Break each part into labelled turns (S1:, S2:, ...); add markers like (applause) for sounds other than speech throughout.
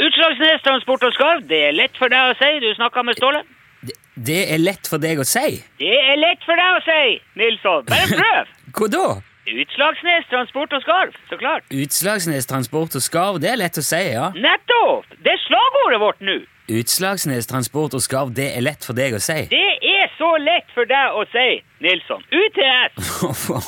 S1: Åndalsnes Transport og Skarv, det er lett for deg å si. Du snakka med Ståle.
S2: Det, det er lett for deg å si.
S1: Det er lett for deg å si, Nilsson. Bare prøv!
S2: Hva da?
S1: Utslagsnes Transport og Skarv, så klart.
S2: Utslagsnes Transport og Skarv, det er lett å si, ja.
S1: Nettopp! Det er slagordet vårt nå.
S2: Utslagsnes Transport og Skarv, det er lett for deg å si. (laughs)
S1: Det er så lett for deg å si, Nilsson. UTS.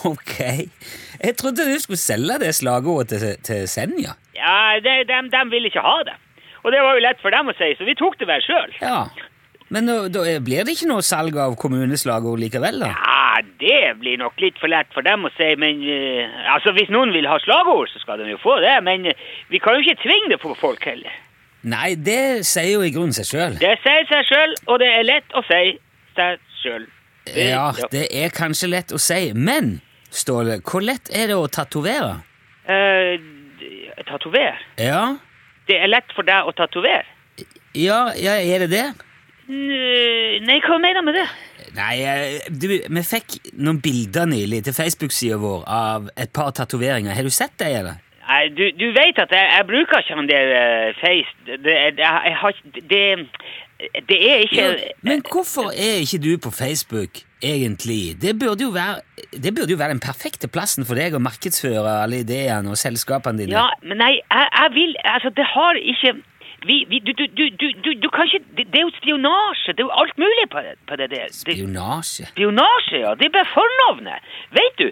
S2: ok. Jeg trodde du skulle selge det slagordet til, til Senja.
S1: Ja, det, dem, dem vil ikke ha det. Og det var jo lett for dem å si, så vi tok det vel sjøl.
S2: Ja. Men da, da blir det ikke noe salg av kommuneslagord likevel, da?
S1: Ja, det blir nok litt for lett for dem å si, men eh, altså, hvis noen vil ha slagord, så skal de jo få det. Men eh, vi kan jo ikke tvinge det på folk heller.
S2: Nei, det sier jo i grunnen seg sjøl.
S1: Det sier seg sjøl, og det er lett å si seg sjøl.
S2: Ja, det er kanskje lett å si, men Ståle, hvor lett er det å tatovere?
S1: Eh, tatover.
S2: Ja,
S1: Det er lett for deg å tatovere.
S2: ja, ja, er det det?
S1: N- Nei, hva mener du med det?
S2: Nei, eh, du, vi fikk noen bilder nylig til Facebook-sida vår av et par tatoveringer. Har du sett det, eller?
S1: Nei, du, du vet at jeg, jeg bruker ikke han der eh, face det, jeg, jeg har ikke det, det er ikke
S2: Men hvorfor er ikke du på Facebook, egentlig? Det burde jo være, det burde jo være den perfekte plassen for deg å markedsføre alle ideene og selskapene dine.
S1: Ja, men nei, jeg, jeg vil Altså, det har ikke vi, vi, du, du, du, du, du, du kan ikke det, det er jo spionasje. Det er jo alt mulig på, det- på det der. Det,
S2: Spionasje.
S1: spionasje, ja. Det er bare fornavnet. Vet du,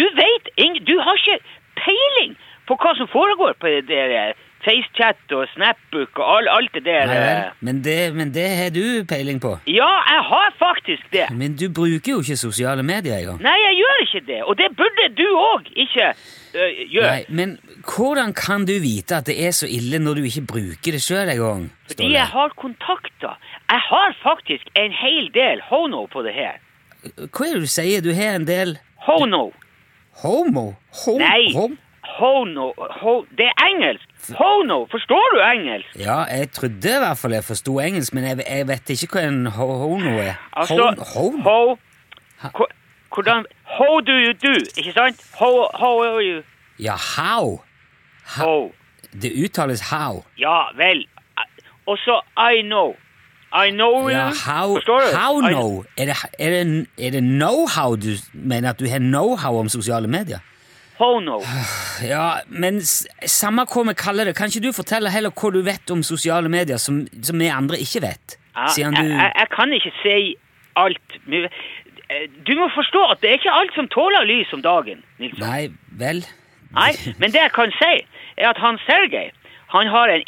S1: du vet ing... Du har ikke peiling på hva som foregår på det der eh, FaceChat og Snapbook og all, alt det der.
S2: Nei vel,
S1: eh.
S2: men det, men det har du peiling på.
S1: Ja, jeg har faktisk det.
S2: Men du bruker jo ikke sosiale medier engang.
S1: Nei, jeg gjør ikke det. Og det burde du òg ikke eh, gjøre.
S2: Nei, men hvordan kan du vite at det er så ille når du ikke bruker det sjøl engang?
S1: Fordi jeg har kontakter. Jeg har faktisk en hel del hono på det her.
S2: Hva er det du sier? Du har en del
S1: Hono.
S2: homo? Hom
S1: Nei.
S2: Hom
S1: Hono. Ho det er engelsk. Hono. Forstår du engelsk?
S2: ja, jeg trodde i hvert fall jeg forsto engelsk, men jeg, jeg vet ikke hva en ho hono er.
S1: Altså,
S2: hom hom
S1: ho... Ko- Hvordan How do you do? Ikke sant? How, how are you?
S2: ja, how.
S1: How.
S2: Det uttales how.
S1: Ja, vel. Og så I know. I know
S2: Ja,
S1: you.
S2: how,
S1: Forstår du?
S2: how
S1: I-
S2: know? Er det, er det, er det know-how du mener at du har know-how om sosiale medier?
S1: Hono.
S2: Ja, men s- samme hva vi kaller det, kan ikke du fortelle heller hva du vet om sosiale medier som, som vi andre ikke vet?
S1: Ja,
S2: Siden
S1: jeg,
S2: du
S1: jeg, jeg kan ikke si alt. men, eh, Du må forstå at det er ikke alt som tåler lys om dagen. Nilsson.
S2: Nei, vel
S1: Nei, men det jeg kan si, er at han Sergej han har en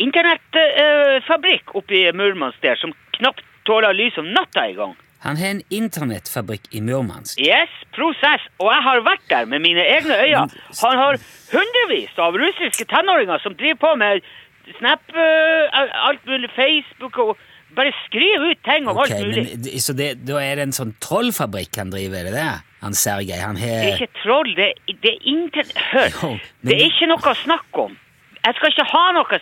S1: internettfabrikk oppe i Murmansk der som knapt tåler lys om natta i gang.
S2: Han har en internettfabrikk i Murmansk.
S1: Yes, prosess. Og jeg har vært der med mine egne øyne. Han har hundrevis av russiske tenåringer som driver på med Snap, eh, alt mulig, Facebook og bare skriver ut ting om
S2: Ok,
S1: alt mulig.
S2: men, eh, d- så det, da er det en sånn trollfabrikk han driver, er det det? Han Sergej, han
S1: Det er
S2: har
S1: ikke troll, det, det er intet
S2: Jo,
S1: Hør,
S2: men
S1: det er
S2: du-
S1: ikke noe å snakke om. Jeg skal ikke ha noe
S2: Nei.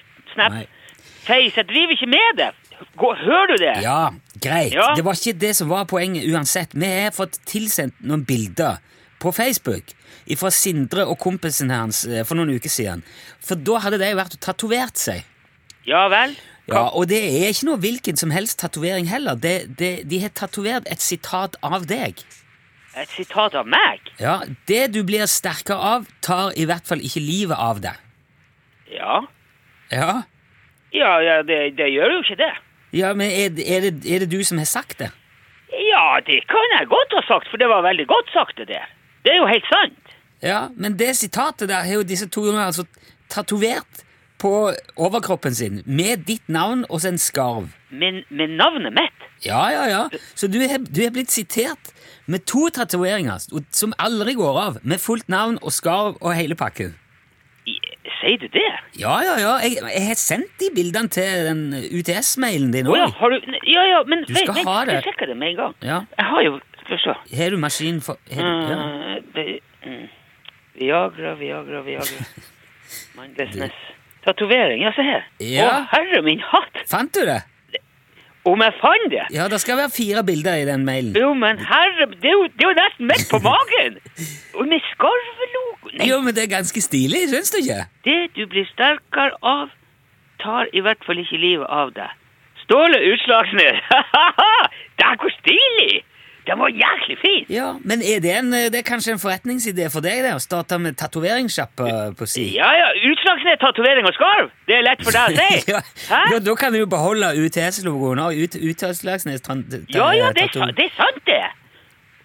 S1: snap-face. Jeg driver ikke med det. Gå, hører du det?
S2: Ja, greit.
S1: Ja.
S2: Det var ikke det som var poenget uansett. Vi har fått tilsendt noen bilder på Facebook fra Sindre og kompisen hans eh, for noen uker siden. For da hadde de vært og tatovert seg.
S1: Ja vel?
S2: Ja, Og det er ikke noe hvilken som helst tatovering heller. Det, det, de har tatovert et sitat av deg.
S1: Et sitat av meg?
S2: Ja, Det du blir sterkere av, tar i hvert fall ikke livet av deg.
S1: Ja.
S2: Ja,
S1: Ja, ja det, det gjør jo ikke det.
S2: ja men er, det- er, det, er det du som har sagt det?
S1: Ja, det kan jeg godt ha sagt, for det var veldig godt sagt, det der. Det er jo helt sant.
S2: Ja, Men det sitatet der har jo disse to nå altså tatovert på overkroppen sin med ditt navn og så en skarv.
S1: Men, men navnet mitt
S2: Ja, ja, ja. Så du har, du har blitt sitert med to tatoveringer som aldri går av, med fullt navn og skarv og hele pakken.
S1: I- Sier du det?
S2: Ja, ja, ja. Jeg, jeg har sendt de bildene til den UTS-mailen din
S1: Å ja,
S2: òg.
S1: har du Ja ja, men
S2: Du skal
S1: vent,
S2: ha
S1: vent, jeg
S2: det.
S1: skal sjekke det med en gang.
S2: Ja.
S1: Jeg har jo Skal vi se.
S2: Har du maskin for har, du- ja.
S1: Eh, det- mm. Viagra, Viagra, Viagra.
S2: (laughs)
S1: Mindlessness. Tatovering, ja, se her.
S2: Ja.
S1: Å, herre min hatt!
S2: Fant du det?
S1: Om jeg fant det!
S2: Ja, det skal være fire bilder i den mailen.
S1: Jo, men herre Det er jo, det er jo nesten midt på magen!
S2: (laughs)
S1: Og med skarvelogo Nei,
S2: Jo, men det er ganske stilig, syns du ikke?
S1: det du blir sterkere av, tar i hvert fall ikke livet av deg. Ståle Utslagsnes. (laughs) Ha-ha-ha! Dæven, hvor stilig! Den var jæklig fin!
S2: Ja, Men er det, en, eh, det er kanskje en forretningsidé for deg det, å starte med tatoveringssjappe på si?
S1: Ja ja, Utslagsnes, tatovering og skarv! Det er lett for deg å si!
S2: (laughs) ja,
S1: Hæ?
S2: ja, da kan du jo beholde UTS-logoen og ut, Utslagsnes tan- tan-
S1: Ja ja, det er,
S2: tato-
S1: sa- det er sant, det!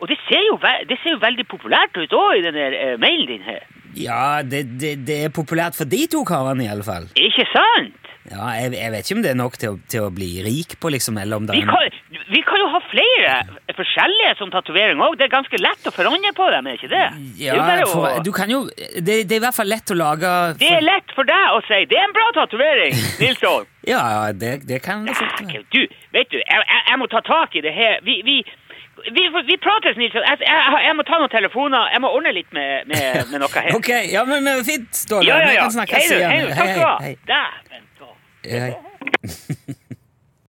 S1: Og det ser jo, ve- det ser jo veldig populært ut òg i den der eh, mailen din her.
S2: Ja, det, det, det er populært for de to karene, i alle fall.
S1: Ikke sant?
S2: Ja, jeg, jeg vet ikke om det er nok til å, til å bli rik på, liksom, eller om det
S1: Vi
S2: er en-
S1: kan, vi kan jo ha flere eh, forskjellige som tatovering òg. Det er ganske lett å forandre på dem, er ikke det? det, er jo
S2: ja,
S1: bare
S2: for,
S1: å,
S2: du kan jo, det, det er i hvert fall lett å lage
S1: det er lett for deg å si 'det er en bra
S2: (laughs)
S1: tatovering', Nilsson.
S2: Ja, det, det kan det fort være.
S1: Dæken, Du, vet du, jeg, jeg, jeg må ta tak i det her. Vi, vi, vi, vi prates, Nilsson. Jeg, jeg, jeg må ta noen telefoner. Jeg må ordne litt med, med, med noe her.
S2: (laughs) Ok, ja, men eh, fint, Ståle.
S1: Ja, ja,
S2: Vi
S1: ja.
S2: kan snakkes
S1: Hei, du.
S2: igjen.
S1: Hei, du. Takk skal du ha.
S2: hei,
S1: Dæven ta.
S2: hei. hei.